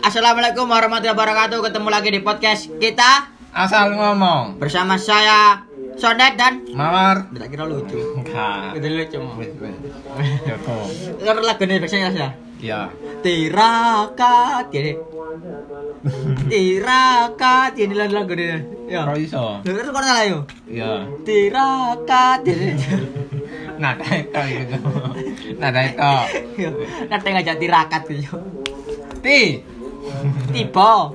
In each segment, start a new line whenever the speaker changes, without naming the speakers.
Assalamualaikum warahmatullahi wabarakatuh. Ketemu lagi di podcast kita
Asal ngomong.
bersama saya Sodet dan
Mawar.
tidak kira lucu.
Enggak.
Kita lucu mau.
Joko.
Terus lagu ini biasanya ya.
Ya.
Tirakat jadi. Tirakat jadi lagu lagu ini. Ya.
Kok iso?
Terus kau salah yuk.
Ya.
Tirakat jadi.
Nada itu gitu. Nada itu.
Yo, Nanti ngajak tirakat gitu.
Ti.
Tiba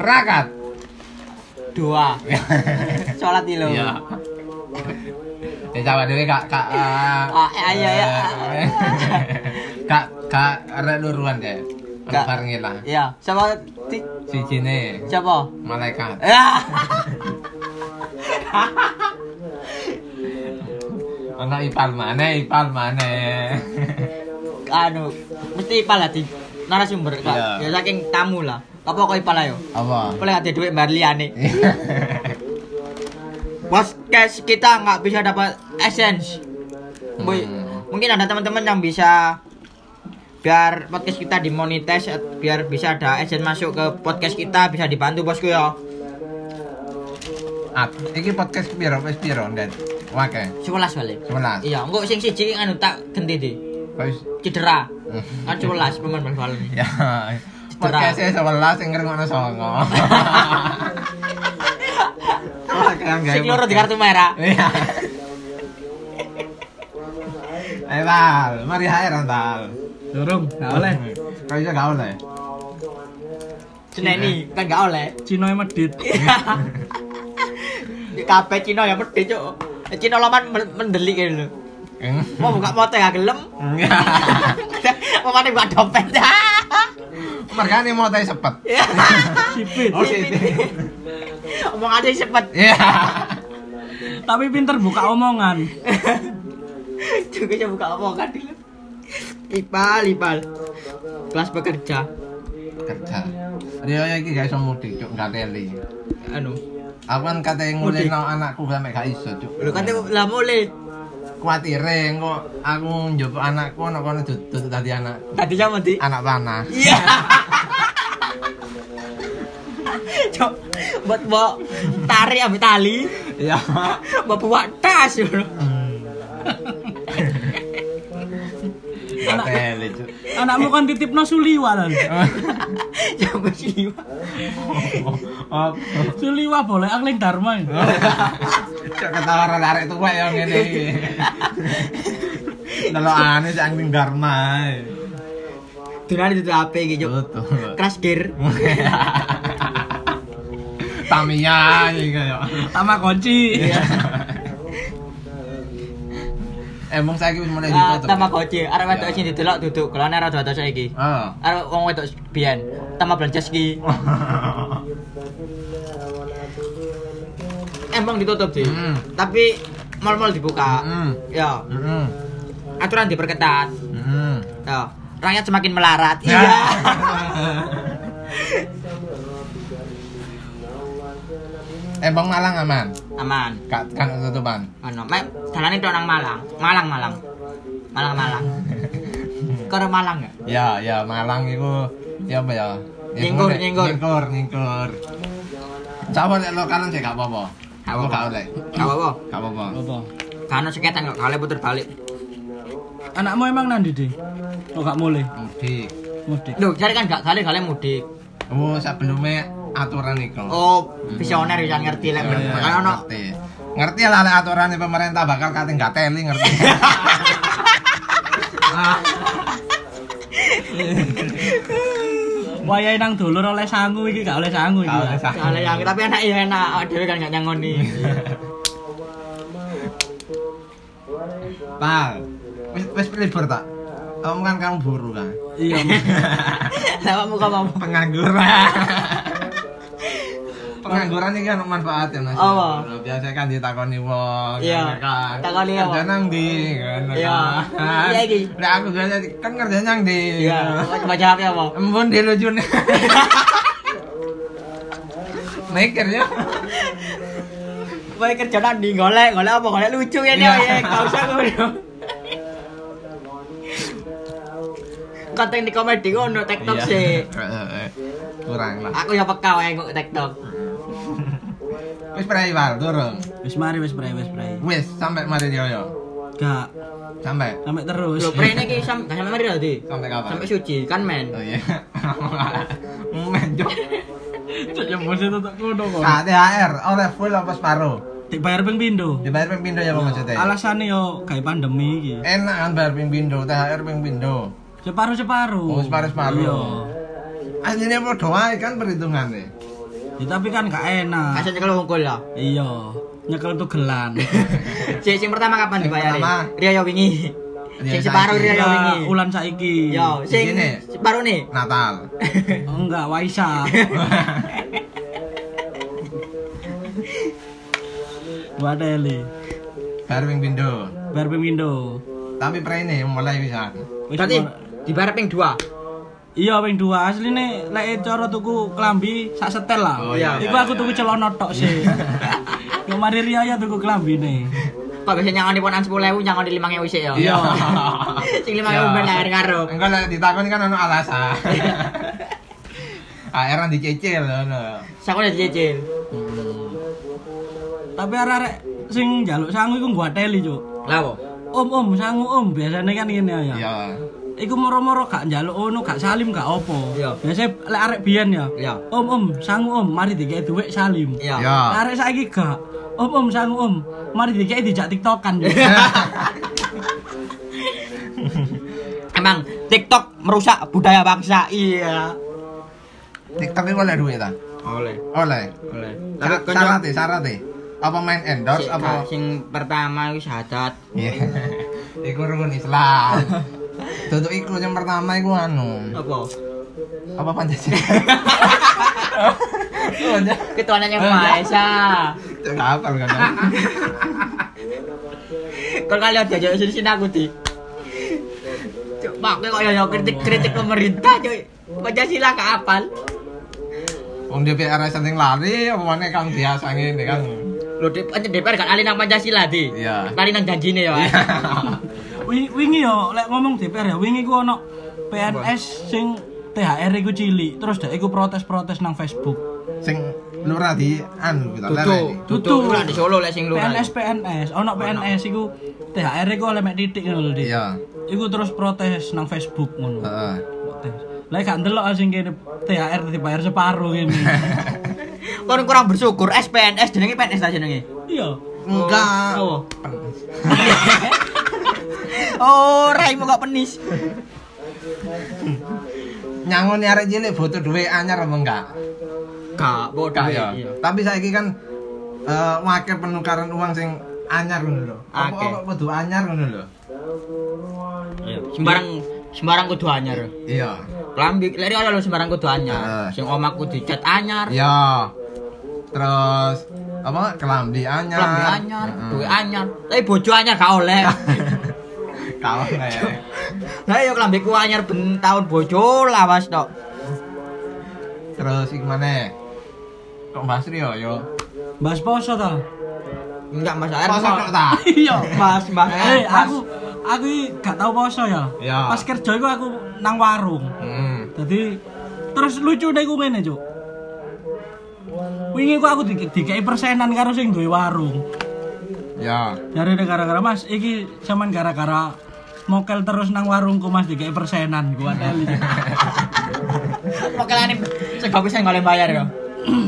Rakat.
dua. Sholat dulu.
Ya. Ya coba dulu kak kak.
Ah, ayo, ya.
Kak kak reluruan deh.
Kak.
Kak barengin lah.
Iya. Siapa? Ti-
Si Cine.
Siapa?
Malaikat.
Ya.
Ono ipal mana? Ipal mana?
anu mesti ipal lah di narasumber kak
Iya.
ya saking tamu lah apa kok ipal ayo
Apa?
boleh ada duit mbak liane podcast kita nggak bisa dapat essence Boy,
Hmm.
mungkin ada teman-teman yang bisa biar podcast kita dimonetize eh, biar bisa ada essence masuk ke podcast kita bisa dibantu bosku ya
Ah, iki podcast piro wis piro, Ndet? Wake.
sebelas balik
11.
iya enggak sing siji anu tak ganti di
Wis.
cedera kan sebelas pemain bal balan ini
Ya. Podcast e 11 sing ngrungokno songo.
sing loro di kartu merah
Iya. Ayo Eh, Bal, mari hae Rantal.
Dorong, gak oleh.
Kau iso gak oleh. iya.
seneni kan nggak oleh
Cino medit.
Kabeh Cina ya medhi, Cuk. Cina loman men- mendelik gitu lho.
Eng.
Mau buka motor ya gelem. Mau mana buka dompet.
Mergane mau teh sepet.
Sipit.
Oh, sipit.
Omong aja cepet.
Iya.
Tapi pinter buka omongan.
Juga coba buka omongan dulu. Ipal, Ipal. Kelas bekerja.
Kerja. Dia iki gak iso mudik, cuk, gak teli.
Anu.
Aku kan katanya
Mudik.
ngulino anakku sampe gak iso, cuk.
Lu kan tuh lah mulai.
kuatire engko aku njupuk anakku ana kono dudut dadi anak
Tadi jam mati.
anak panah.
Iya. Cok, buat mau tarik ambil tali,
Iya.
mau buat tas. Cuk.
Katele cuk.
Anakmu kan titipno Suliwa lan.
Coba sih.
Op.
Suliwa boleh angling Dharma.
Cuk ketawa ora arek tuwek ya ngene iki. Delokane sing angling dharma.
Dunia itu HP gitu.
Betul.
Crash gear.
Tamiya iki kaya.
Sama kunci.
Emang Eh, saiki wis mulai
Ah,
ditutup.
Tambah koci. Arab
Ya.
wedok sing didelok duduk kelane rada atas saiki.
Oh.
Arab wong wedok biyen tambah belanja ski. Emang ditutup sih.
Hmm.
Tapi mal-mal dibuka.
Hmm.
Ya,
Hmm.
aturan diperketat.
Hmm.
Ya, rakyat semakin melarat.
Ya.
Iya.
Emang Eh, Malang aman?
Aman.
Kak, kan tutupan.
Ono, mek dalane tok nang Malang. Malang, Malang. Malang, Malang. Karo Malang ya?
Ya, ya Malang itu ya apa ya? Ya,
Nyingkur,
pokoknya
nyingkur.
nyingkur, nyingkur. Coba nek lokalan sih gak apa-apa.
Gak
Aku
apa-apa.
gak oleh.
Gak apa-apa.
Gak apa-apa.
Apa?
Kano seketan kok kale puter balik.
Anakmu emang nang ndi, Oh gak mulai.
Mudik.
Mudik.
Loh, cari kan gak kale kale mudik.
Oh, sebelumnya aturan itu.
Oh, visioner bisa ngerti lek
Ya, ya,
makane ono
ngerti. Ngerti lah lek aturan e pemerintah bakal kate gak teli ngerti. Ah,
Wayahe nang dulur oleh sangu iki gak oleh sangu iki.
gak oleh
Lan.
sak.
Soalnya yang tapi enak ya enak, awak dhewe kan gak nyangoni.
Pal. Wis wis libur tak? Kamu kan kamu buru kan?
Iya.
Lah muka mau.
pengangguran pengangguran ini kan manfaat ya mas
Apa?
biasa kan ditakoni wong
Iya,
kan
takoni
kerja
apa?
nang di kan
Iya.
kan.
Iya, iki.
Lah, aku biasa di- kan kerja nang di
Iya, coba jawab ya, Pak.
embun di lujune mikir
Iya.
ya
Kowe kerja nang ndi golek, golek apa golek lucu ya dia
Iya.
ya, gak usah ngono. konten di komedi ngono TikTok
Iya.
sih.
Heeh. Kurang lah.
Aku ya peka wae kok TikTok.
Wis prai war durung.
Wis mari wis pray wis pray.
Wis sampai mari yo yo.
Gak
Sampai.
sampai terus.
Lho prene iki sam gak sampe mari tadi.
Sampai kapan?
Sampai suci kan men.
Oh iya. Menjok.
Cuk ya mesti tetep ngono kok.
Saat THR oleh Oh, full apa separuh?
Dibayar ping pindho.
Dibayar ping pindho ya Pak maksudnya.
Alasannya yo kayak pandemi iki.
Enak kan bayar ping pindho, THR ping pindho.
Separuh-separuh.
Oh, separuh-separuh.
Iya.
Aslinya mau doa kan perhitungan deh.
Ya, tapi kan gak enak.
Kasih nyekel wongkol lah.
Iya. Nyekel tugelan.
Sing sing pertama kapan
Sing
dibayari?
pertama.
Ria yo wingi.
Ria
Sing separuh
saiki.
Ria yo
Iya,
Ya,
Iya, wingi. Iya.
ulan saiki.
Yo, sing
Begini.
separuh nih.
Natal.
Oh, Enggak, Waisa. Wadeli.
bayar ping pindho.
Bayar ping pindho.
Tapi prene mulai bisa.
Wis
Berarti
mor-
dibayar ping 2.
Iya ping dua asline lek cara tuku klambi sak setel lah.
Oh,
iya,
Iku
iya,
aku
iya,
tuku
iya.
celana tok sih. Kemarin Ria ya tuku klambine.
Kok biasa nyangoni ponan 10.000 nyangoni 5.000 sik yo.
Iya.
Sing
Iya.
5.000 ben lahir karo.
Engko lek ditakoni kan ono alasan. AR dicicil ngono.
Saku ya cicil.
Tapi arek-arek sing njaluk sangu iku ngwateli, Cuk.
Lah apa?
Om om sangu om biasanya kan ngene ya.
Iya.
Iku moro-moro gak njaluk ono, gak salim, gak opo.
Iya.
Biasanya lek arek biyen ya.
Iya.
Om om sangu om mari dikek dhuwit salim.
Iya.
Iya.
Lek Arek saiki gak. Om om sangu om mari dikek dijak tiktokan. Cuk.
Emang TikTok merusak budaya bangsa. Iya.
TikTok iku oleh duit ta?
Oleh.
Oleh.
Oleh.
Sa- Syarat e, syarat e. Apa main endorse apa?
sing pertama wis syahadat.
Iya. Iku rukun Islam. Tutuk iku yang pertama iku anu.
Apa?
Apa Pancasila? Pancasila.
Ketuhanan yang Maha Esa.
Gak apa lu kan?
Kalau kalian aja sini sini aku di. Cuk, Pak, kowe kok yo kritik kritik pemerintah, cuy. Pancasila gak apal.
Wong DPR ae sering lari apa maneh kan biasa ngene kan.
Lho, di- DPR gak alin nang Pancasila di.
Iya.
Lali nang janjine yo. eh.
Wi- wingi yo lek ngomong DPR ya wingi ku ono PNS sing THR iku cilik terus dek iku protes-protes nang Facebook.
Sing lurah di anu kita
Tutu,
lere.
tutu
Tutu.
lah di Solo lek sing lurah.
PNS PNS ono PNS iku THR iku oleh mek titik ngono lho. Dik.
Iya.
Iku terus protes nang Facebook ngono.
Heeh.
Protes. Lek gak ndelok sing kene THR dibayar separo kene.
Kon kurang bersyukur SPNS jenenge PNS ta jenenge.
Iya.
Enggak.
Oh. Oh, raimu gak penis.
Nyangon arek cilik butuh duit anyar apa enggak?
Gak, bodoh
Enggak ya.
Iya.
Tapi saiki kan eh wakil penukaran uang sing anyar ngono lho. Apa
Akeh.
apa kudu anyar ngono lho.
Sembarang sembarang kudu anyar.
Iya.
Lambi, lari ada lo sembarang kudu anyar.
Ah.
Sing omaku dicat anyar,
Iya. Terus apa kelambi anyar.
lambi anyar,
Heeh.
duwe anyar. Tapi bojo anyar gak oleh.
Kalah nek.
Lah yo lambiku anyar ben tahun bojo lawas tok.
Terus iki maneh. Kok Mas Rio yo.
Bahas poso ta?
Enggak masalah.
Masa kok ta?
Iya.
Mas, mas.
Eh, aku aku iki gak tau poso ya.
Iya.
Pas kerja iku aku nang warung.
Hmm.
Jadi terus lucu deh gue ngene, Cuk. Wingi ku aku di- dikai persenan karo sing duwe warung.
Ya.
Dari gara-gara Mas, iki cuman gara-gara mokel terus nang warungku Mas dikai persenan gua teli.
Pokelane sego pisan gak oleh bayar yo.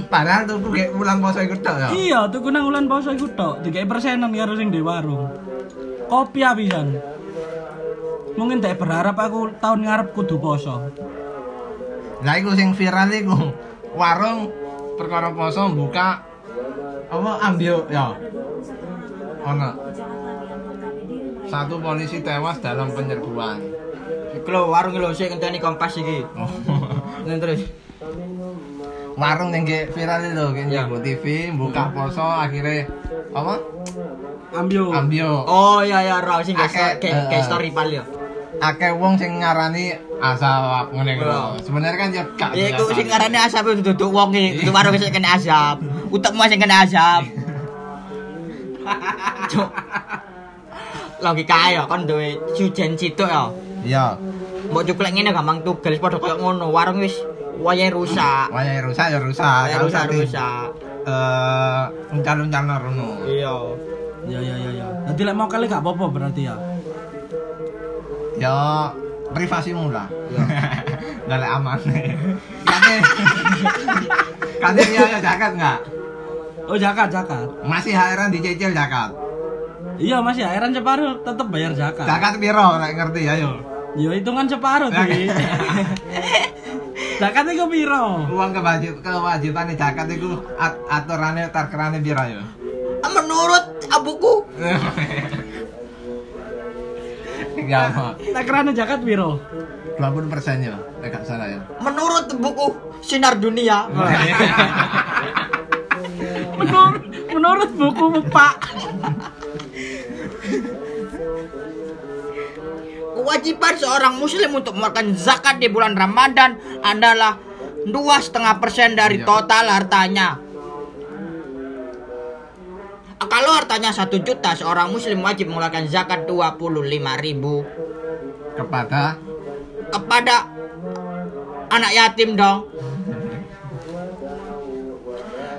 Padahal tuh gue ulang poso ikut tok ya.
iya, tuku nang ulan poso iku tok, dikai persenan karo sing duwe warung. Kopi habisan. Mungkin tak berharap aku tahun ngarep kudu poso.
Lah iku sing viral iku warung perkara poso buka apa ambio ya. Ono. Satu polisi tewas dalam penyerbuan.
Iku lho warung lho sik ngenteni kompas iki. Ngene terus.
warung yang kayak viral itu kayak
Ya.
nyebut TV buka poso akhirnya apa
Ambio.
ambio
Oh iya iya ra sing gak
Akeh,
kayak kayak
eh.
story pal yo.
akeh wong sing ngarani asal ngene iku
Ya.
sebenarnya kan ya gak
Ya iku
biasa.
sing ngarane asap itu duduk wong iki, itu baru bisa kena asap. Utekmu sing kena asap. e Cuk. Logika ya kon duwe sujen situk ya.
iya
mbok cuklek ngene gampang tugel padha koyo ngono warung wis wayahe rusak
Wayahe rusak ya rusak,
wayahe
kalau
rusak
tadi
rusak
eh uncal-uncal rono.
iya
Ya ya ya ya. Nanti lek mau kali gak apa-apa berarti ya.
Ya privasimu lah.
Iya.
Enggak lek aman. Kate. Kate ya zakat enggak?
Oh zakat zakat.
Masih HRan dicicil zakat.
Iya masih airan separuh tetep bayar zakat.
Zakat piro nek ngerti ayo.
Ya hitungan separuh tuh. zakat itu piro?
Uang kewajib kewajiban zakat iku at aturane tarkerane piro ayo.
menurut abuku
Ya, Mak.
Takarannya zakat piro?
20 persen ya, nek gak salah ya.
menurut buku sinar dunia
Menurut menurut buku Pak.
kewajiban seorang muslim untuk mengeluarkan zakat di bulan Ramadan adalah dua setengah persen dari
Iya.
total hartanya kalau hartanya satu juta seorang muslim wajib mengeluarkan zakat 25.000 ribu
Kepada
kepada anak yatim dong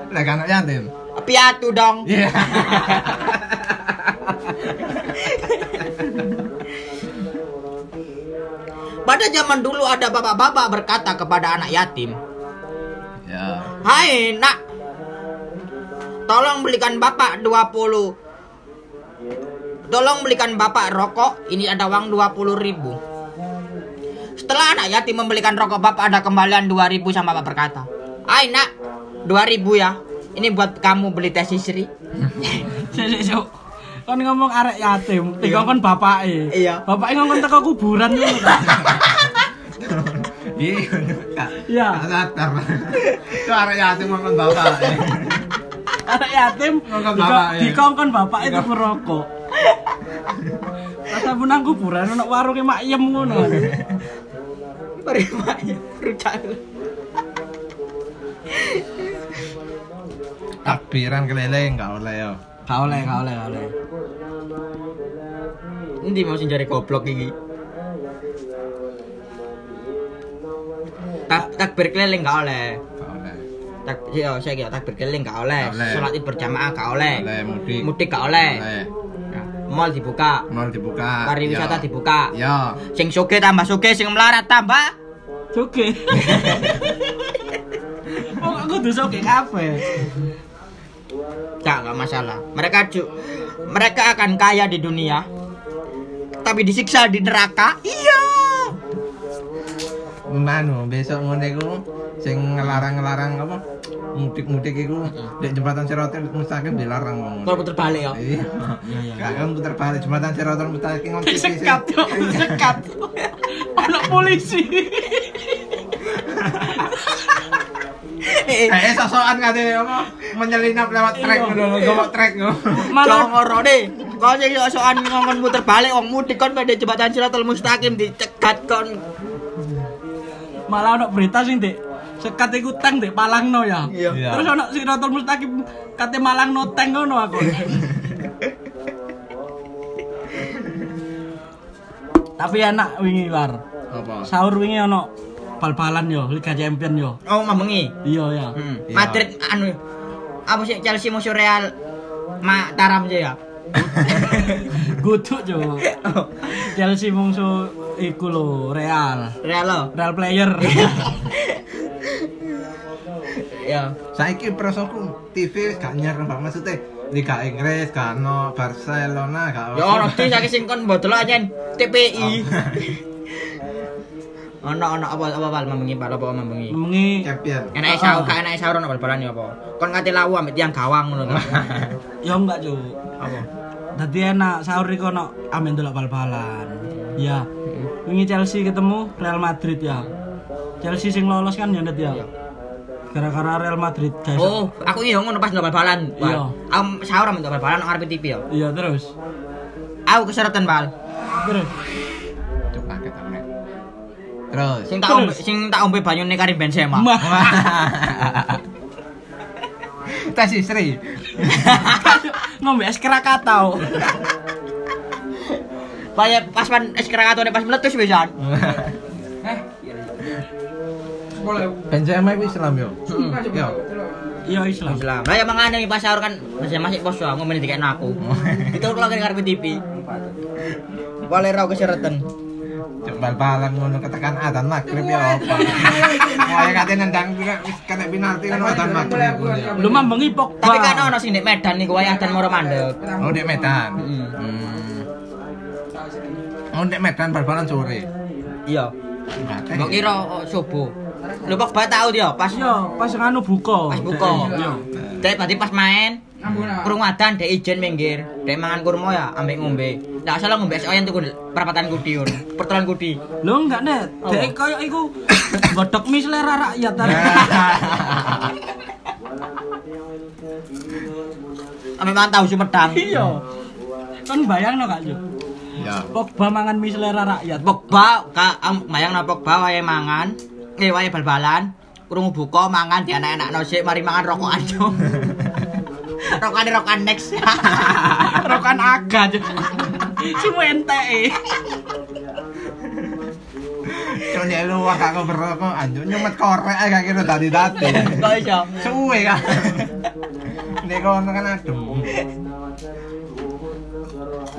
lek anak yatim.
piatu dong
Iya.
pada zaman dulu ada bapak-bapak berkata kepada anak yatim
Ya.
Hai nak Tolong belikan bapak 20 Tolong belikan bapak rokok Ini ada uang 20 ribu Setelah anak yatim membelikan rokok bapak Ada kembalian 2 ribu sama bapak berkata Hai nak 2 ribu ya Ini buat kamu beli teh sisri
Sik sik Kon ngomong arek yatim, tiga kon bapake.
Iya.
Bapake ngomong teko kuburan ngono.
Iya.
Iya.
Sadar. Itu anak yatim makan bapak.
Arek yatim
Ngongkon
diko-
bapake.
dikongkon bapake tuku rokok. Rasa menang kuburan ono warunge mak yem ngono.
Berimanya rujak
Takbiran keliling enggak oleh ya.
Gak oleh, gak oleh, gak oleh.
Nanti mau sing jari goblok ini tak takbir keliling gak oleh
Enggak oleh.
tak yo saya kira takbir keliling gak oleh
Gak oleh.
sholat id berjamaah gak oleh
Oleh mudik.
Eh, mudik gak oleh
Oleh.
Nah, mall dibuka
Mal dibuka.
pariwisata
Ya.
dibuka
Ya.
sing soge tambah soge sing melarat tambah
Oke. Oh, aku tuh sok kafe.
gak gak masalah mereka ju- mereka akan kaya di dunia tapi disiksa di neraka iya
Manu besok ngono iku sing ngelarang-ngelarang apa? Mudik-mudik iku di jembatan Sirotil mustahil dilarang wong. ngono.
kalau puter balik ya. yo
Iya. Gak kan putar balik jembatan Sirotil mustahil ngono.
Disekat tuh, disekat. Anak polisi.
Eh, eh,
Eh, sosokan kate apa? Menyelinap lewat trek
Iya.
ngono, gowok trek ngono.
Malah
Malah
ngoro deh. Kau jadi sokan ngomong muter balik wong mudik kon pada jembatan Siratul Mustaqim dicegat kan. kon.
malah ono berita sing Dik. Sekat iku tank Dik Palangno ya.
Iya.
Iya.
Terus ono Siratul Mustaqim kate Malangno tank ngono aku. Tapi enak wingi war.
Apa?
Sahur wingi ono bal-balan yo Liga Champion yo.
Oh, mamengi.
Iya ya.
Hmm.
Iya.
Madrid anu apa sih Chelsea musuh Real mak taram aja ya.
Guduk yo. Chelsea mungsu iku lho Real.
Real lo.
Real player.
Ya.
Saiki prosoku TV gak nyer Pak maksudnya Liga Inggris gak ono Barcelona gak
Ya ora sih saking sing kon bodol aja TPI. Ono ono apa apa bal mamengi bal apa mamengi.
Wingi
champion.
Enake sahur, ka enake sahur ono bal-balan ya apa. Kon ngati lawu ambek tiang gawang ngono.
yo enggak yo.
Apa?
Tadi enak sahur iku ono amen delok bal-balan. Ya. Wingi Chelsea ketemu Real Madrid ya. Chelsea sing lolos kan ya Ndet ya. Gara-gara Real Madrid guys.
Oh, aku iya ngono pas ndak bal-balan. Bal.
Iya.
Aku sahur ambek ndak bal-balan ngarep TV ya.
Iya terus.
Aku keseretan bal.
Terus.
Cuk kaget aku nek. Terus.
Sing tak ombe, sing tak ombe banyune Karim Benzema.
Mah.
Tes istri.
Ngombe es Krakatau.
ya, Pas pas pan es krakatone pas meletus pisan.
Benzema itu Islam yo. Yo.
Iya Islam.
Islam. Lah ya mangane pas sahur kan masih masih poso aku ngomeni dikekno aku. Itu kalau kan ngarepe TV. Wale ra keseretan.
Jebal balan ngono ketekan adzan maghrib ya apa. Kayak kate ya, nendang kira- wis kena penalti ngono adzan maghrib.
Lu mambengi Pogba.
Tapi kan ono sing ndek Medan niku wae adan moro mandek.
Oh dek Medan. Hmm. Oh dek Medan bal balan sore.
Iya.
Nggak,
Mbok kira oh, subuh. Lho kok ba tau dia pas
Iya, pas nganu buka.
pas buka.
Iya.
Dek berarti pas main Kurung wadan, dek ijen minggir, dek mangan kurma ya, ambek ngombe. Lah salah ngombe esok yang tuku perapatan kudi yun, pertelan kudi.
Lu enggak net.
Oh.
Dek koyo iku bodok mis selera rakyat.
Ambek mantau sumedang.
Iya. Kan bayangno Kak Yo.
Ya.
Pogba mangan mie selera rakyat.
Pogba, ka, am, bayang na Pogba wae mangan, eh wae bal-balan, kurung buka mangan di anak-anak nosik, mari mangan rokokan jo. rokokan rokokan next.
Rokan aga aja. Cuma entek.
e.
eh.
Cuma dia lu wah kak berapa anjur nyemet korek aja kak kira tadi tadi.
Kok iso?
Suwe kak. Nek kono kan adem.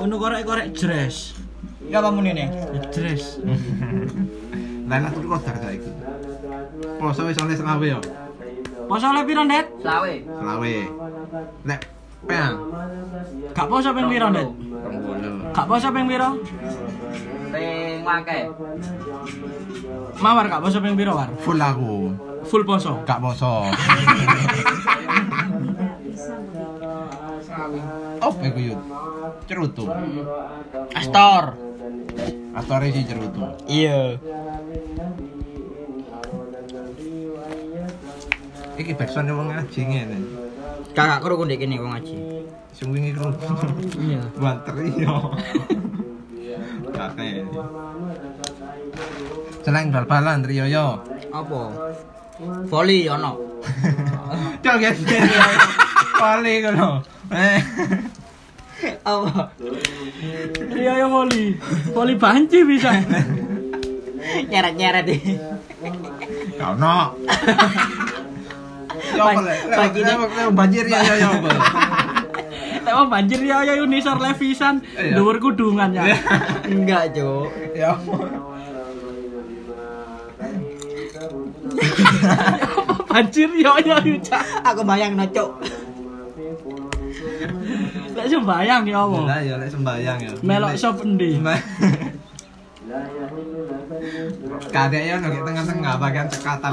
Ono korek-korek jres.
Gak apa muni nih?
Ya, Jres.
Lain aku kodar saya itu. Poso wis oleh selawe yo.
Poso oleh piro, Net?
Selawe.
Selawe. Nek peang.
Gak poso ping piro, Net? Gak poso ping piro?
Ping wake.
Mawar gak poso ping piro, War?
Full aku.
Full poso.
Gak poso. Oh, aku yut. Cerutu.
Astor.
Atore si cerutu.
Iya.
Iki backsound wong ngaji ngene.
Kakak kru kundi kini wong ngaji.
Sing wingi kru.
Iya.
Banter yo. Kakek. Selain bal-balan trio yo.
Apa? Voli ono.
Cok guys. Pali kono. Eh.
Apa?
Iya ya voli. Voli banci bisa.
Nyeret-nyeret e. iki.
Kono. Yo
Pan-
boleh.
pagi ini-
banjir ya yo yo. boleh.
Tek mau banjir ya ya Unisor Levisan.
Iya.
Dhuwur kudungan ya.
Enggak, Jo.
Ya.
Banjir ya ya ucap.
Aku bayang Cuk.
Lek sembayang ya
Lah
Allah.
ya lek sembayang ya.
Melok shop endi?
Kadek yo nang tengah-tengah bagian cekatan.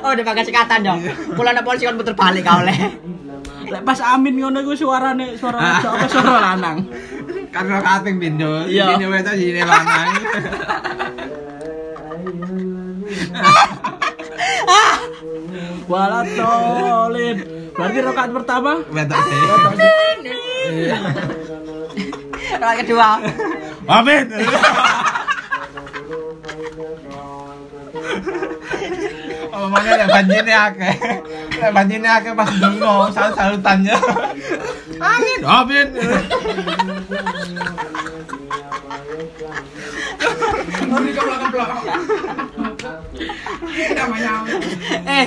Oh, udah pakai sekatan, Jo. Pulang ada polisi kan puter balik kau leh.
Lek pas Amin ngono iku suarane suara
Ah.
wedok apa suara lanang?
Karena kating bindo,
Iya.
ini wedo ini lanang.
Walatolin. Berarti rokaat pertama
Wedo sih.
Rokat Iya. kedua.
Amin. Omongnya lek banjirnya akeh. Lek banjirnya akeh pas dengo salut-salutannya. Amin. Amin.
Eh,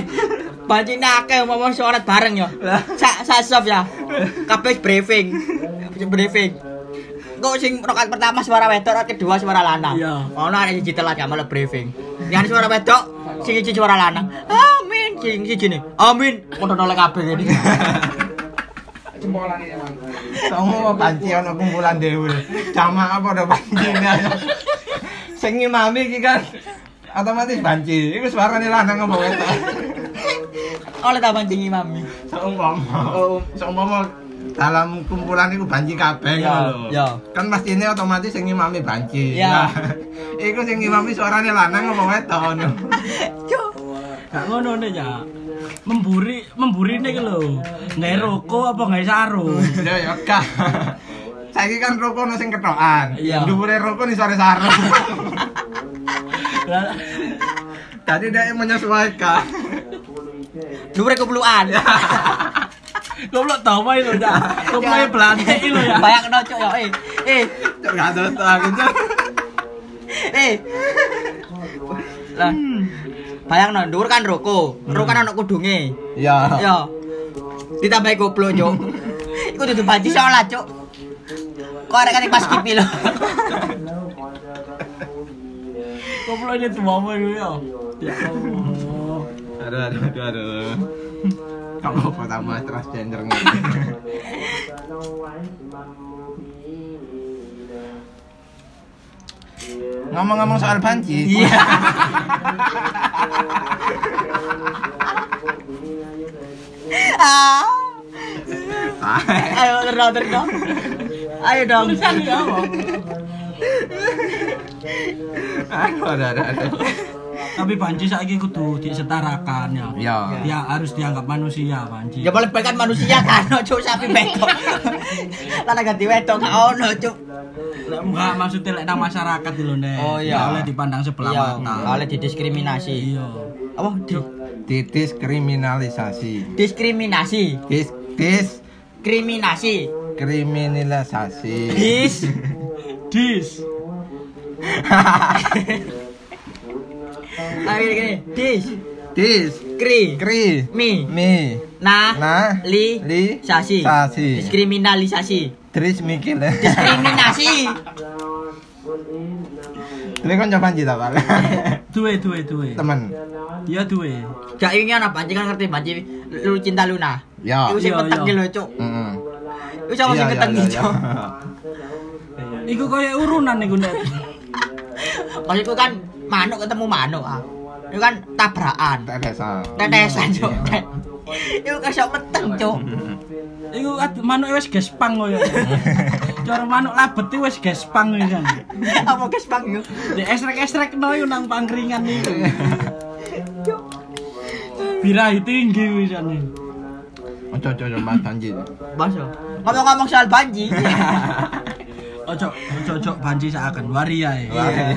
banci akeh ngomong suara bareng yo. Sak sak sob ya. Kabeh briefing. Briefing. Kok sing rokat pertama suara wedok, rokat kedua suara lanang.
Iya.
Ono arek siji telat gak malah briefing. Yang suara wedok, sing siji suara lanang. Amin, sing siji ne. Amin. Ngono nolak kabeh ini.
Kamu mau panci ono kumpulan dewe. Jamaah apa udah banjirnya. Sing ngimami iki kan otomatis banci. Iku suarane lanang apa wedok.
Oleh tak bancingi mami.
Seumpama. Oh, Seumpama dalam kumpulan itu banci kabeh
Ya,
ngono lho.
ya.
Kan pastinya otomatis sing ngimami banci.
Ya.
Nah, iku sing ngimami suarane lanang apa wedok ngono.
Gak ngono nih ya. Memburi memburi nih lho. Nek roko apa nggak sarung?
Ya ya kah. Saiki kan rokok ono sing ketokan.
Iya.
Dhuwure rokok ni suara sarung.
Lah,
Tadi dia menyesuaikan.
Dhuwure
Ya,
keplukan.
Goblok tau wae lho ya. Goblok blantik lho
Iya.
ya.
Bayang cuk yo. Eh, eh,
Cok gak ada tak gitu.
eh. Lah, Bayang no, dhuwur kan roko. Roko kan ono kudunge.
Iya.
Yo. Ditambahi goblok, Cuk. Iku dudu banci salah, Cuk. Kok arek kan pas kipi lho.
Koplo ini tuh apa ini ya? Ya Allah.
Aduh aduh aduh aduh. Kamu pertama transgender ngene. Ngomong-ngomong soal banci.
Iya.
Ah.
Ah,
Ayo terus terus. dong. Ayo dong.
Tulisan ya apa?
Aduh aduh aduh. aduh.
Tapi banci saiki kudu disetarakan ya.
Ya.
Ya harus dianggap manusia banci.
Ya boleh kan manusia kan ono cuk sapi betok. Lah nek ganti wedok gak ono cuk.
Enggak maksudnya lek nang masyarakat itu lho, Nek.
Oh, iya.
Nggak boleh dipandang sebelah
Iya,
mata.
oleh didiskriminasi.
Iya.
Apa di
Didiskriminalisasi.
diskriminasi?
Dis dis
Kriminasi.
kriminalisasi.
Dis
Dis.
Ayo gini, dis
Dis
kri
kri
mi
mi
nah,
Nah,
li,
li,
sasi.
sasi.
diskriminalisasi
Tris mikir ya.
diskriminasi
Ini kan coba cita pak.
Duwe duwe duwe.
Temen.
Iya duwe.
gak ingin apa banci kan ngerti banci lu cinta Luna
Ya.
itu sing
Iya,
peteng
iya.
ki lho cuk
Mm-mm.
itu sama sing
Iya,
peteng
iya,
ki
iya,
cuk
iya.
Iku koyo urunan iku Nek.
kalau itu kan manuk ketemu manuk ah itu kan tabrakan
Tak ada salah.
tetesan cuk itu kesok peteng cuk
Iku ad- manuk wis gespang koyo. Cara manuk labet iku wis gespang iki kan.
apa guys bang yo
Di esrek-esrek no iku nang pangkringan iku. Birahi tinggi wisane.
Ojo ojo ojo mas Panji.
Baso. ngomong-ngomong soal banci
Ojo ojo ojo banci saken wariae.
Wah, iya.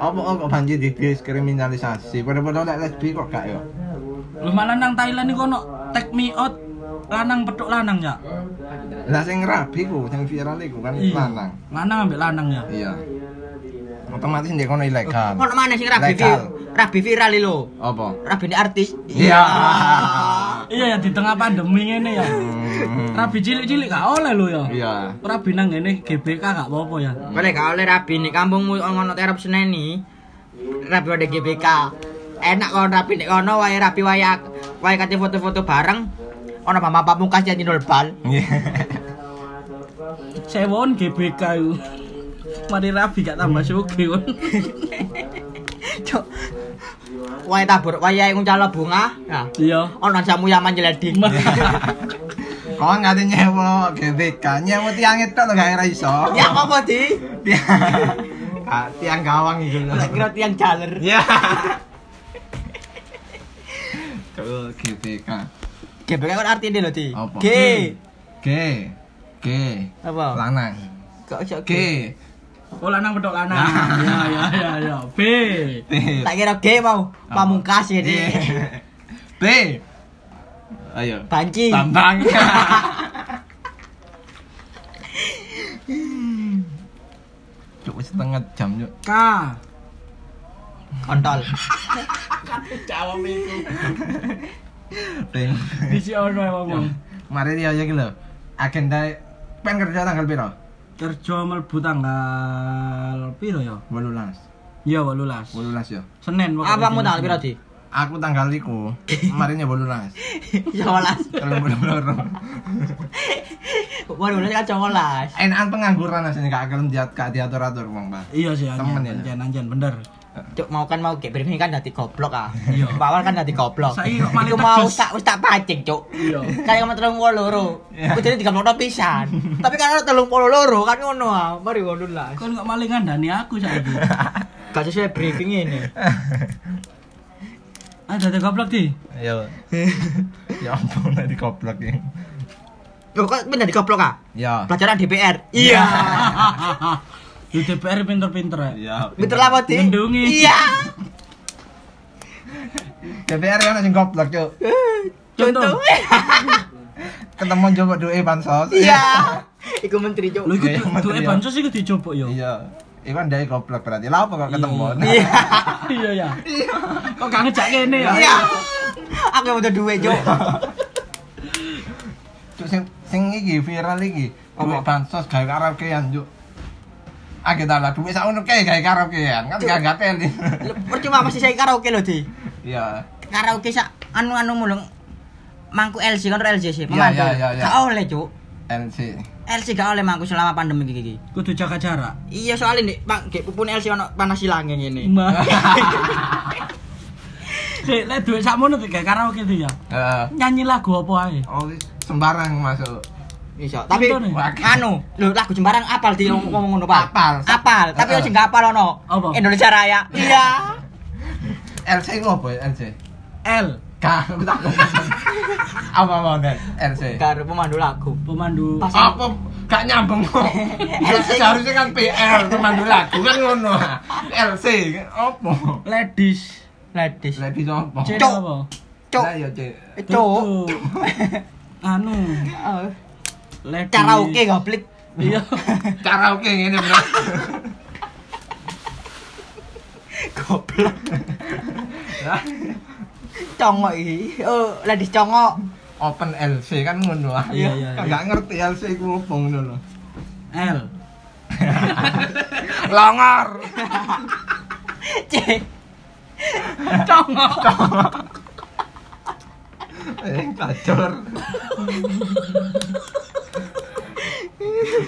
Apa apa Panji didiskriminalisasi? Pada-pada lek lesbi kok gak ya?
Lu malah nang Thailand iku ono take me out lanang petuk lanang ya.
Lah sing rabi ku, sing viral iku kan
Iya.
lanang.
Lanang ambek lanang ya.
Iya. Otomatis ndek kono ilegal.
ngono mana sing rabi
Legal.
vi- rabi viral lho
Apa?
rabi ini artis
Iya.
Iya ya di tengah pandemi ngene ya.
Hmm.
Rabi cilik-cilik gak oleh lo ya.
Iya.
Rabi nang ngene GBK gak apa-apa ya.
Boleh gak oleh rabi nih kampungmu ngono terap seneni. Rabi ada GBK. Enak kalau rabi nih kono wae rabi wae ak- wae kate foto-foto bareng. Ono mama pamungkas jadi nol bal.
Sewon GBK iku. Mari Rabi gak tambah sugih kon.
Cuk. Wae tabur wae ae nguncalo bunga. Nah.
Iya.
Ono samu yaman jeledi.
Kok nggak ada nyewa GBK? Nyewa tiang itu lo gak ngira iso.
Ya apa di?
Tiang- Ah, tiang gawang itu lo.
Lek kira tiang jaler.
Ya. Tuh GBK.
GBK kan artine lho di.
Apa?
G.
G. G.
Apa?
Lanang.
Kok iso
G.
G?
Oh lanang petuk lanang. Ya ya ya ya. B.
T.
Tak kira G mau pamungkas ya,
T.
jadi.
T. Ayo.
Banci.
Bambang. Cuk setengah jam yuk.
K.
Kontol.
Jawab iku.
Ting.
Dici ono ngomong.
Mari dia aja gitu. Agenda pen kerja tanggal piro?
Kerja mlebu tanggal piro ya?
18.
Iya 18.
18 ya.
Senin pokoknya.
Apa mau tanggal piro di?
Aku tanggal iku. Marinya
11.
18. 32.
Waduh, ini kan cowok
Enakan pengangguran asline gak akan diat gak diatur-atur wong, Pak.
Iya sih
Temen
anjen
ya.
anjen anjen bener.
Cuk mau kan mau gek briefing kan dadi goblok ah.
Iya.
Bawal kan dadi goblok.
Saiki kok malah
Iku mau
tegas.
tak wis tak pancing, Cuk.
Iya.
Kali kamu telung puluh loro.
Iya.
Aku jadi tiga puluh pisan. Tapi kan ada telung puluh loro kan ngono ah. Mari ngono lah.
Kon kok maling ngandani aku saiki.
Gak sesuai briefing ini.
Ada ada Ah, goblok di.
Yo. ya ampun tadi koplak ya.
Loh kok bener di goblok ah?
Ya.
Pelajaran DPR. Iya.
Di DPR pinter-pinter
Ya.
ya.
Betul apa, Di?
Ngendungi.
Iya.
DPR kan sing goblok yuk.
Contoh.
Contoh.
Ketemu coba duwe bansos.
Iya. Iku menteri, Cuk.
Lho iku
Iya,
du-
menteri
duwe
ya.
bansos iku dicoba yo.
Iya. Iwan dari goblok berarti. Lah apa kok ketemu?
Gitu. Iya ya. Kok gak ngejak kene ya?
Iya. Aku yang udah duwe, Jo.
Cuk sing sing iki viral iki. Ono bansos gawe karaokean juk. Ah kita lah duit sak ngono kae gawe karaokean. Kan gak gak teli.
Lu Percuma masih saya karaoke loh, Di.
Iya.
Karaoke sak anu-anu mulu. Mangku LC kan LC sih,
Iya,
pemandu.
iya, iya, iya.
Gak oleh, Jo.
LC.
LC gak oleh mangku selama pandemi iki.
Kudu jaga jarak.
Iya soalnya nih, Bang, gak pupun LC ono panas silangnya ngene.
Mbak. Sik, lek duit sakmono tuh kayak karaoke tuh ya.
Heeh.
Nyanyi lagu apa ae?
Oh, sembarang masuk.
Iso. Tapi
Contohnya?
anu, lho lagu sembarang apal di ngomong ngomong ngono, Pak.
Apal.
Apal, tapi
Heeh.
ojo gak apal ono.
Apa?
Indonesia Raya. Iya.
LC itu apa ya? LC?
L,
Kak, aku takut. Apa mau dan LC?
Karo pemandu lagu.
pemandu.
Pas-
Apa? Gak nyambung kok.
LC.
Seharusnya kan PR, pemandu lagu kan ngono. LC, apa?
Ladies.
Ladies.
Lebih apa?
Oh.
Cek
Cok.
apa?
Cok.
Lah, ya, Cek.
Cok.
Tutup. Anu,
Oh.
ladies.
Karaoke goblok.
Iya.
Karaoke ngene, Bro.
Goblok.
Lah,
Congok iki. Oh, ladies congok.
Open LC kan ngono ah.
Iya, iya, iya.
Gak ngerti LC iku opo ngono lho.
L.
Longor.
Cek. Congok.
Eh, kacor.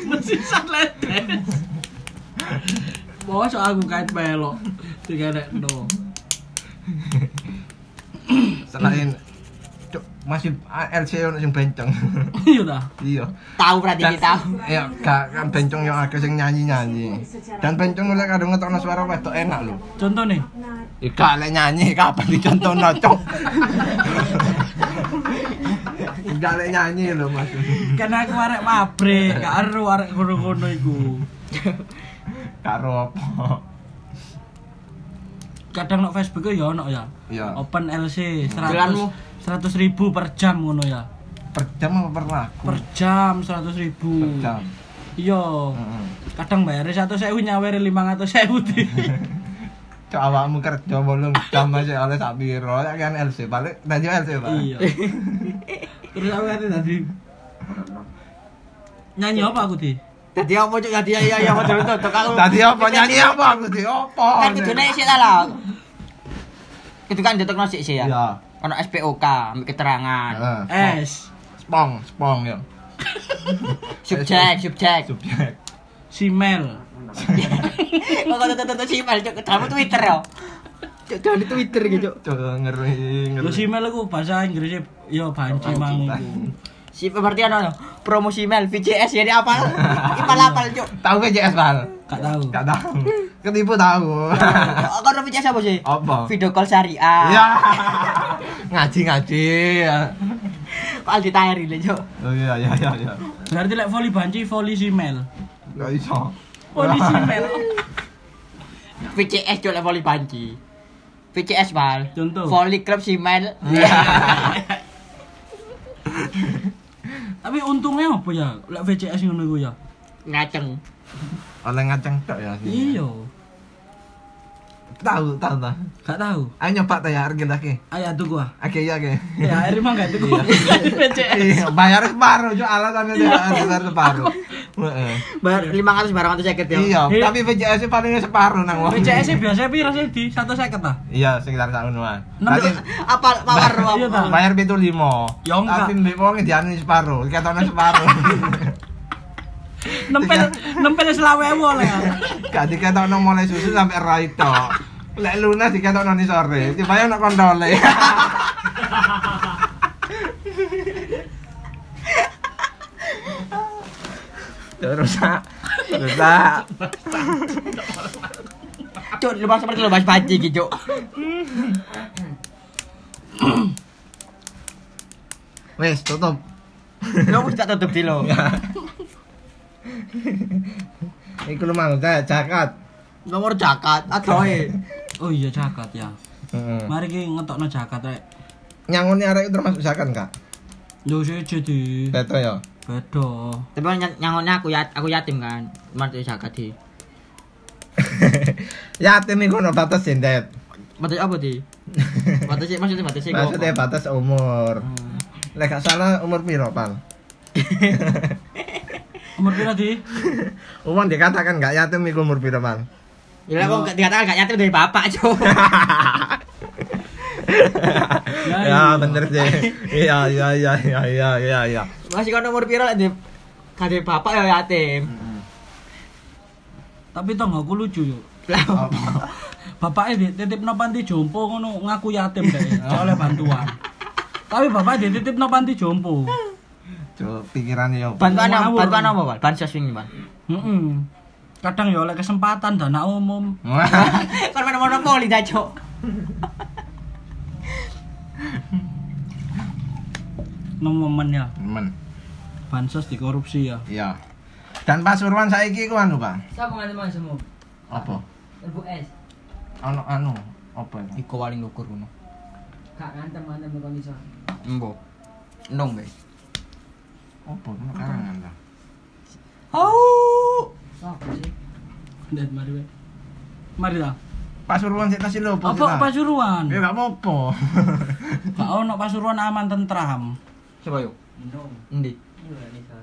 Mesisa ledes. Bawa so aku kait pelok. Tiga dek no.
Selain Cuk, masih ah, LC ono sing bencong.
Iya dah.
Iya.
Tahu berarti
Dan-
kita.
Ya, gak kan bencong yang agak sing nyanyi-nyanyi. Dan bencong lek kadung ngetokno suara wedok enak lho.
Contoh nih.
Ya gak lek nyanyi kapan dicontohno, Cuk. Gak lek nyanyi lho, Mas.
Karena aku arek pabrik, gak aru arek ngono-ngono iku.
Karo apa?
Kadang nok Facebook ya ono ya.
Iya.
Open LC 100
Jalanmu.
100 ribu per jam ngono ya.
Per jam apa per lagu?
Per jam 100 ribu.
Hmm. Per jam. Hmm.
Iya.
Heeh.
Kadang bayarnya satu sewu nyawere 500 sewu di.
Cuk awakmu kerja bolong jam aja oleh sak piro lek kan LC balik tadi LC Pak.
Iya. Terus aku kate tadi nyanyi apa aku di?
Dadi apa cuk? Dadi ya ya ya betul betul aku.
Tadi apa nyanyi apa aku di apa?
Kan kudune sik ta lah. Itu kan ditekno sik sih ya.
Iya.
Ono SPOK, ambil keterangan.
Heeh.
S
Spong, spong ya.
Subjek, subjek.
Subjek.
Simel.
Kok kata tata si Imal, cok, kamu Twitter ya? Cok, jangan di Twitter gitu.
Cuk ngeri
Lu
ngeri.
Simel aku bahasa Inggrisnya ya banci mang iku.
Si berarti ano, promosi Mel, VJS jadi apa? Imal apal, cok.
Tahu ke JS Bal?
Gak tahu.
Gak tahu. Ketipu tahu.
Kau udah VJS apa sih?
Apa?
Video call syariah.
Oh. Ya. Ngaji ngaji.
Kok Aldi Tahir ini, cok.
Oh iya iya iya iya.
Berarti lek volley banci volley Simel.
Gak iso.
Volley Simel.
VJS cok, lah, voli panci. VCS Mal.
Contoh.
Voli klub si Mel.
Tapi untungnya apa ya? Lek VCS ngono iku ya.
Ngaceng.
Oleh ngaceng tok ya.
Iya.
Tahu tahu tahu.
Gak tahu.
Ayo nyoba tayar gitu lagi.
Ayo tuku ah.
Oke iya oke.
Ya, akhirnya mah gak tuku. VCS.
Iya, bayar separuh, cuk alasannya dia bayar separuh. Heeh.
Bar 500 barang atau jaket ya.
Iya, tapi VCS palingnya separuh nang wong.
VCS -nya biasanya piro sih di ah. 150 ta?
Iya, sekitar tahun lah.
Enam
Berarti
Apa mawar
Iya, Bang.
apa?
bayar pintu lima.
Ya, enggak.
Tapi mbek wong diani separuh, ketone separuh.
Nempel nempel selawewo lah.
Gak diketokno mulai susu sampai rai tok. Lek lunas diketokno ni sore, tiba-tiba nak kondole. Ya, Terus Sak. terus Sak.
Cok, lu bahas seperti lu bahas panci gitu, Cok.
wes tutup.
Lu mesti tak tutup dulu.
Iya. Iku lu mau tak jakat.
Nomor jaket, adoe.
Oh iya jakat ya.
Heeh.
Mari ki ngetokno jakat rek.
Nyangone arek itu termasuk jakat enggak?
Lho sih jadi
Beto ya.
beda.
Tapi kan nyang- nyangonnya aku ya aku yatim kan. Cuma tuh jaket di.
Yatim iku ono batas jendet.
Batas apa sih? Batas maksudnya batas sih.
Maksudnya batas umur. Lek gak salah umur piro, Pal?
Umur pira di?
Umum dikatakan gak yatim iku umur piro, Pal?
Ya kok gak- dikatakan gak yatim dari bapak, Cok.
iya.
ya bener sih. Iya, iya, iya, iya, iya, iya, iya.
Masih kan umur piro lek di- gak dari bapak ya yatim.
Tapi tonggoku lucu yo.
Lah,
Bapaknya dititip no panti jompo ngono ngaku yatim deh, oleh bantuan. Tapi bapaknya dititip no panti jompo.
Cuk, ya, pikirannya yo.
bantuan apa?
Ngawur.
Bantuan apa, Pak? Bansos wingi, Pak.
Mm-mm. Kadang ya oleh kesempatan dana umum.
Kan main monopoli dah, Cok.
No momen ya.
Men.
Bansos dikorupsi ya.
Iya. Dan Pasuruan saiki iku anu, Pak.
Siapa nganti mas semua?
Apa?
Ibu S.
Ono anu, apa itu?
Iko paling ngukur ngono.
Kak ngantem ngantem bukan bisa.
Embo. Endong, guys.
Apa? Ono karangan ta.
Oh.
Siapa sih?
Dan mari we. Mari ta.
Pasuruan sik tasih lho,
Apa pasuruan?
Ya gak apa-apa.
Gak ono pasuruan aman tentram.
Coba yuk.
Endong.
Endi?
Enggak bisa.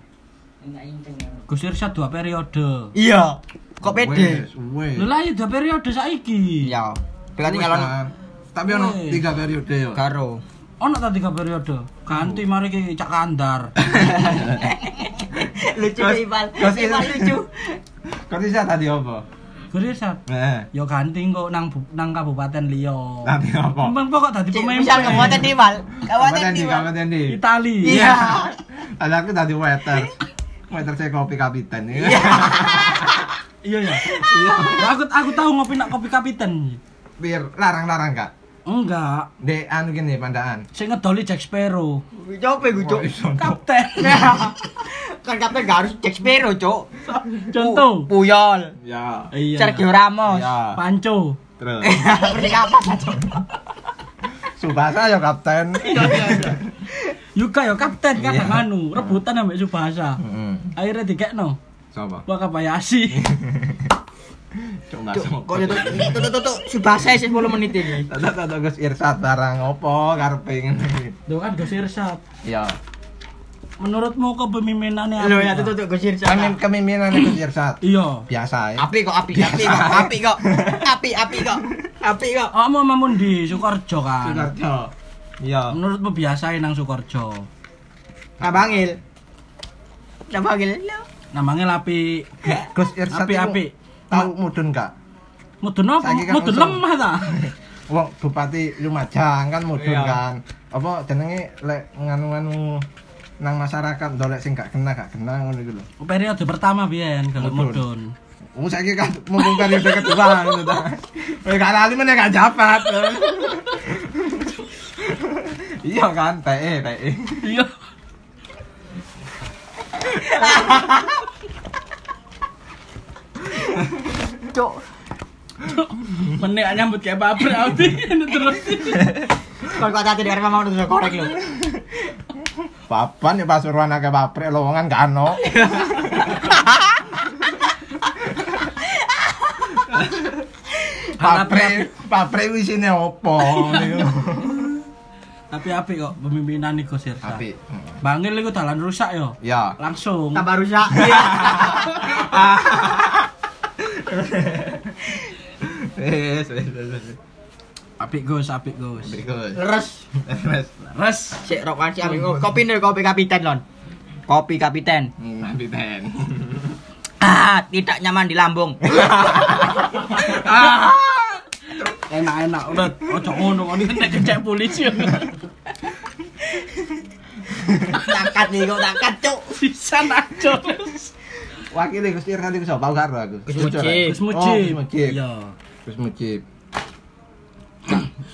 Enggak inceng ya.
Gus Irsyad dua periode.
Iya. Kok pede?
Wes, wes.
Lho lah ya dua periode saiki.
Iya. Berarti
Wes,
ngalon
Pan. Tapi ono
Wes.
tiga periode yo.
karo.
Ono ta tiga periode. Ganti mari ki cak kandar.
lucu
Terus-
deh, Ipal.
terus itu-
Ipal lucu.
Kok bisa tadi apa?
Gus Irsyad.
Eh.
Yo ganti kok nang bu- nang kabupaten liyo.
Tadi apa?
Mbang pokok dadi
Cik,
pemimpin.
misal kabupaten di, Ipal. Kabupaten
Kabupaten
di,
di,
Ipal.
kabupaten di.
Itali.
Iya.
Ada aku tadi waiter. Waiter saya kopi kapiten.
Iya.
Iya ya. Iya. Aku aku tahu ngopi nak kopi kapiten.
Bir larang-larang kak.
Enggak.
Dek anu gini pandaan.
Saya ngedoli Jack Sparrow.
Coba gue, Cok.
Kapten.
Kan kapten gak harus Jack Sparrow, Cok.
Contoh.
Pu- Puyol.
Ya.
Iya.
Sergio Ramos.
Ya.
Panco.
Terus.
Seperti apa, Cok?
Subasa ya kapten.
Iya,
Yuka yo kapten kan
Iya.
anu rebutan ambek Subasa.
Heeh.
Akhirnya dikekno.
Coba.
Wah kabayashi.
Coba
Cok, kok itu itu itu itu subasa sih 10 menit ini.
Tata tata Gus Irsat barang opo karepe ngene.
Tuh kan Gus Irsyad.
Iya.
Ya.
Menurutmu kepemimpinannya apa?
Lo ya itu tuh gosir
Pemimpin kemimpinan Gus Irsat.
Iya.
Biasa ya.
Api kok api api kok api kok api api kok api kok.
Oh, mau mamun di Sukorjo kan.
Sukarjo. Iya.
Menurutmu biasain nang Sukorjo.
Nabangil. Nabangil. Lo.
Namanya lapi.
Gus Irsat.
Api
itu
api.
Tahu mudun kak?
Mudun apa?
Saiki kan
Mudun
usum.
lemah ta?
Wong Bupati Lumajang kan mudun kan. Apa jenenge lek nganu-nganu nang masyarakat dolek sing gak kena gak kena ngono iku lho.
Periode pertama biyen kalau
Mudun.
mudun.
Wong saiki kan mumpung periode kedua ngono ta. Wis gak lali meneh gak jabat. iya kan, tee tee.
Iya.
Cok.
Menek nyambut kayak pabrik Audi terus.
Kalau kau tadi dari mama udah korek lo.
Papan ya Pasuruan akeh pabrik lowongan gak ono. pabrik, pabrik isine opo ngono iku.
Tapi apik kok pemimpinan iku Sirsa.
Apik.
Bangil iku dalan rusak yo.
hmm. Ya.
Langsung.
Tambah rusak. Ah,
Wes, wes, wes, wes.
Apik Gus, apik Gus.
Berikut.
Leres.
Wes.
Res.
Cek rokan si api. Oh, Kopi nih kopi kapiten lon. Kopi kapiten.
Nanti ten.
Ah, tidak nyaman di lambung. Ah.
Enak-enak udah ojo ngono kon nek kecek polisi.
Takat nih kok takat cok.
Sisan aja.
Wakil Gus Ir nanti bisa bau karo aku.
Gus Mujib.
Gus
Gus
Mujib. Oh, Gus
Mujib.
Mujib.
Eh, Iya.
Gus Mujib.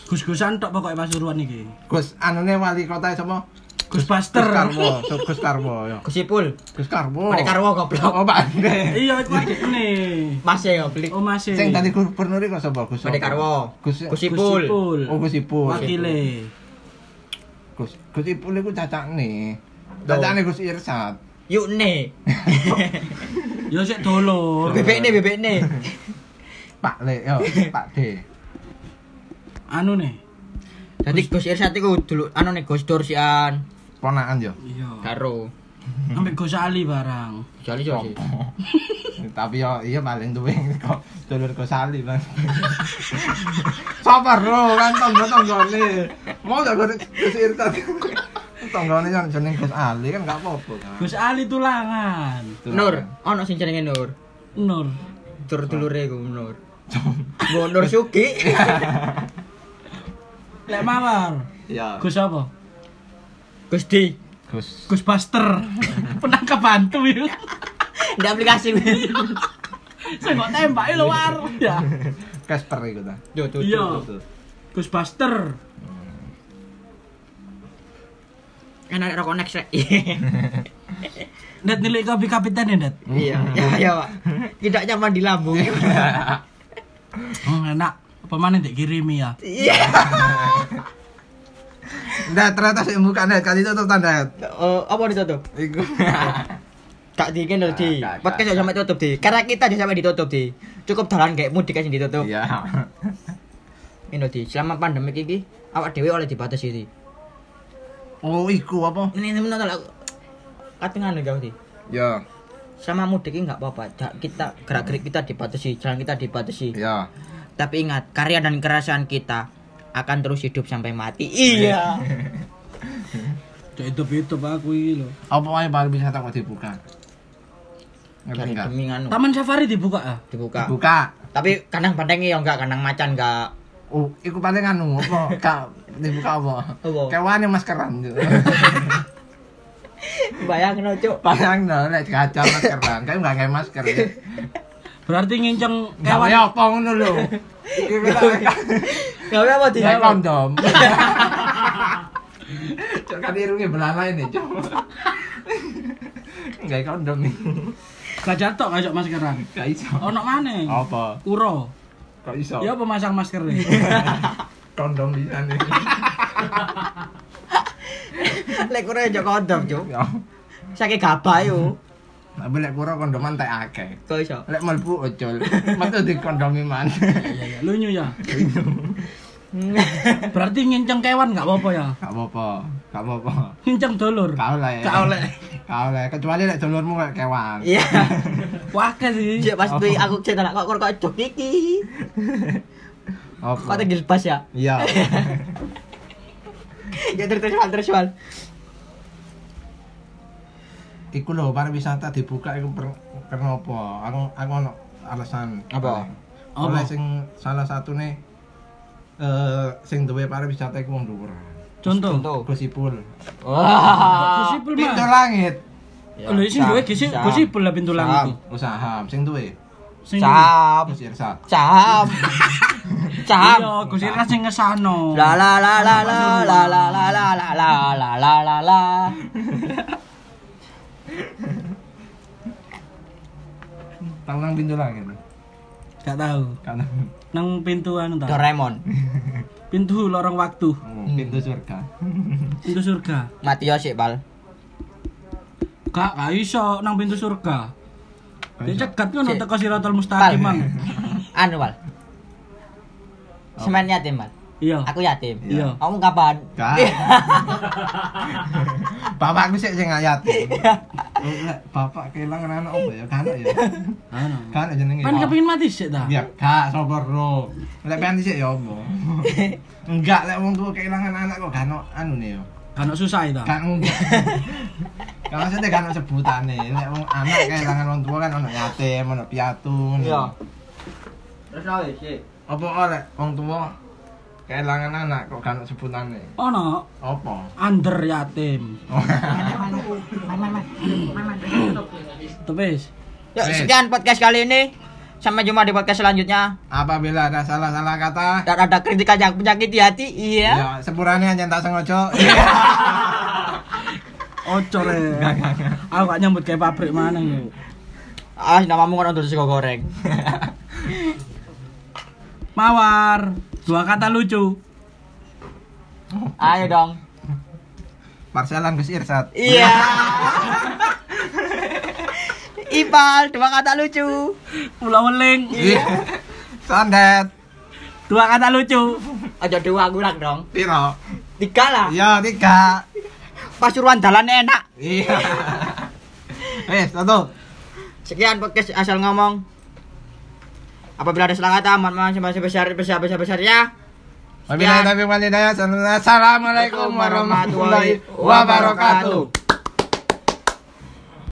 Gus-gusan tok pokoke Pasuruan iki.
Gus anune wali kota sapa?
Gus
Gus
Buster.
Karwo, Su- Gus Karwo ya.
Kusipul.
Gus Karwo.
Pada Karwo goblok. e
Oh, Bande.
Iya, iku adikne.
Masih ya beli.
Oh, masih.
Sing tadi gubernur iku sapa Gus?
Pada Karwo.
Gus
Gus
Kusipul.
Ipul.
Oh, Gus Ipul.
Wakile.
Gus Gus Ipul iku cacakne. Cacakne Gus Irsat.
Yuk nih.
Yo sik dolor.
Oh. Bebek nih, bebek nih.
Pak Le, yo, Pak D.
anu nih
Jadi Gus Irsat iku dulu anu nih Gus Dur sian.
Ponakan yo.
iya
Karo.
sampai Gus Ali barang
Jali jali.
Tapi yo iya paling tuwing kok dulur kok sali, Bang. Sabar bro, kan tonggo-tonggone. Mau gak gue kesir tadi. Tonggone yang jeneng Gus Ali kan gak apa-apa kan.
Gus Ali tulangan
Nur, ono sing jenenge Nur.
Nur
Dur dulure iku Nur. Mbok Nur Sugi.
lek mawar
Ya.
Gus apa
Gus Di.
Gus.
Gus Buster penangkap hantu itu
Di aplikasi.
saya kok tembak lu war ya
Casper iku ta.
Yo yo.
iya
tuh.
Gus Buster
Enak rokok next rek.
Net nilai kopi kapiten ya Net
Iya, ya ya Pak. Tidak nyaman di lambung.
oh, enak apa mana dek kirimi ya
Iya.
Ndak ternyata sih buka net kali itu tuh tanda.
Eh, apa ditutup?
Iku.
Kak di kan di
Ah, Kak,
podcast
Kak,
jangan sampai tutup di. Karena kita jangan sampai ditutup di. Cukup dalan kayak mudik aja ditutup.
Iya.
Ini di. Selama pandemi ini awak dewi oleh dibatasi di.
Oh, iku apa?
Ini ini menonton aku. Katingan lho kau di.
Ya,
Sama mudik ini nggak apa-apa. Ja- Kita gerak gerik kita dibatasi, jalan kita dibatasi.
ya.
Tapi ingat karya dan kerasaan kita akan terus hidup sampai mati. Iya.
cok itu itu aku ini loh
Apa wae paling bisa tak dibuka? Ngerti
Dari
enggak?
demi anu
Taman Safari dibuka ah
dibuka.
Buka.
Tapi kandang pandangi ya enggak, kandang macan enggak.
Oh, iku paling anu apa? Kak dibuka apa?
Apa?
Kewan yang maskeran.
Bayangin no, Cuk.
Paling no nek kaca maskeran, kayak enggak kayak masker ya.
berarti nginceng
Kawan
kewan
ya apa ngono lho. Iku
Enggak apa-apa di.
Tidak kondom. Cok kan irungnya belalai nih, cok. Enggak kondom nih.
gak jatuh gak mas sekarang
Enggak iso.
Oh, ono mana
Apa?
uro
Kok iso?
ya pemasang masker nih
Kondom bisa nih.
Lek kurang aja kodok, Cuk.
Ya.
Saking gabah yo.
Tapi lek kurang kondoman tak akeh.
Kok iso?
Lek melbu ojol. Metu di kondomi man.
Iya, iya, lunyu ya
Hmm.
berarti nginceng kewan gak apa-apa ya
Gak apa-apa. Gak apa-apa.
nginceng dolur
Gak oleh.
Gak oleh.
Gak oleh. Kecuali lek dulurmu kayak kewan.
Iya.
wah sih
Cek pas
Oh.
kuwi aku cek tak kok kok kok jok iki. Kok
Apa?
tegil pas ya.
Iya.
Ya terus terus terus. Wal.
Iku lho pariwisata dibuka iku per, karena apa? Aku aku ono alasan.
Apa?
Apa?
Oleh sing salah satune eh sing duwe pariwisata iku wong dhuwur.
contoh
Contoh.
Gusipul.
Wah.
Gusipul
Pintu
mah
langit.
Ya,
lho sing duwe gisi
Sam.
gusipul lah
Sam.
pintu langit tuh.
Usaha sing duwe.
sing
Cap.
Gus Irsa.
Cap. Cap.
iya Gus Ira sing ngesano
La la la la la la la la la la la la la la la.
Tang nang pintu langit.
gak tahu
Kan
nang pintu anu ta
Doraemon.
pintu lorong waktu
pintu surga.
pintu surga
Mati yo sik, Pal.
gak gak iso nang pintu surga dicegat kan
Cek.
teko siratal mustaqim
Pal.
mang
Anu, Pal.
Oh.
Semen yatim, Pal.
iya
Aku yatim.
Iya.
Kamu kapan? Iya.
Gak. Bapakku sik sing ayatin. Lek bapak kehilangan anak apa ya? Kan ya.
Ano.
Kan jenenge.
Pan kepengin mati sik ta?
Ya, gak sabar bro. Lek pengen sih ya opo. Enggak, lek wong tua kehilangan anak kok gak ono anu nih yo.
Kan susah ta.
Gak enggak. Kalau saya gak ono sebutane, lek wong anak kehilangan wong tua kan ono yatim, ono piatu. ngono.
Iya.
Terus apa sih?
Apa kok lek wong tua kehilangan anak kok gak ono sebutane?
Ono
Apa?
under yatim. Tepis.
Yuk,
Wes.
sekian podcast kali ini. Sampai jumpa di podcast selanjutnya.
Apabila ada salah-salah kata,
Dan ada kritikan yang menyakiti hati, iya.
ya sepurane aja tak sengaja.
Ojo re. Aku gak nyambut kayak pabrik mana yo.
Ah, namamu kan untuk sego goreng.
Mawar. Dua kata lucu.
Ayo dong.
Parselan Gus Irsat.
Iya. Ipal, dua kata lucu.
Pulau weling.
Iya. Sandet.
Dua kata lucu.
Aja dua kurang dong.
Piro?
Tiga lah.
Iya, tiga.
Pasuruan jalan enak.
Iya. Wes, satu.
Sekian podcast asal ngomong. Apabila ada salah kata, mohon maaf ya. sebesar besar besar besarnya.
Wabillahi taufiq wal hidayah. Assalamualaikum warahmatullahi wabarakatuh.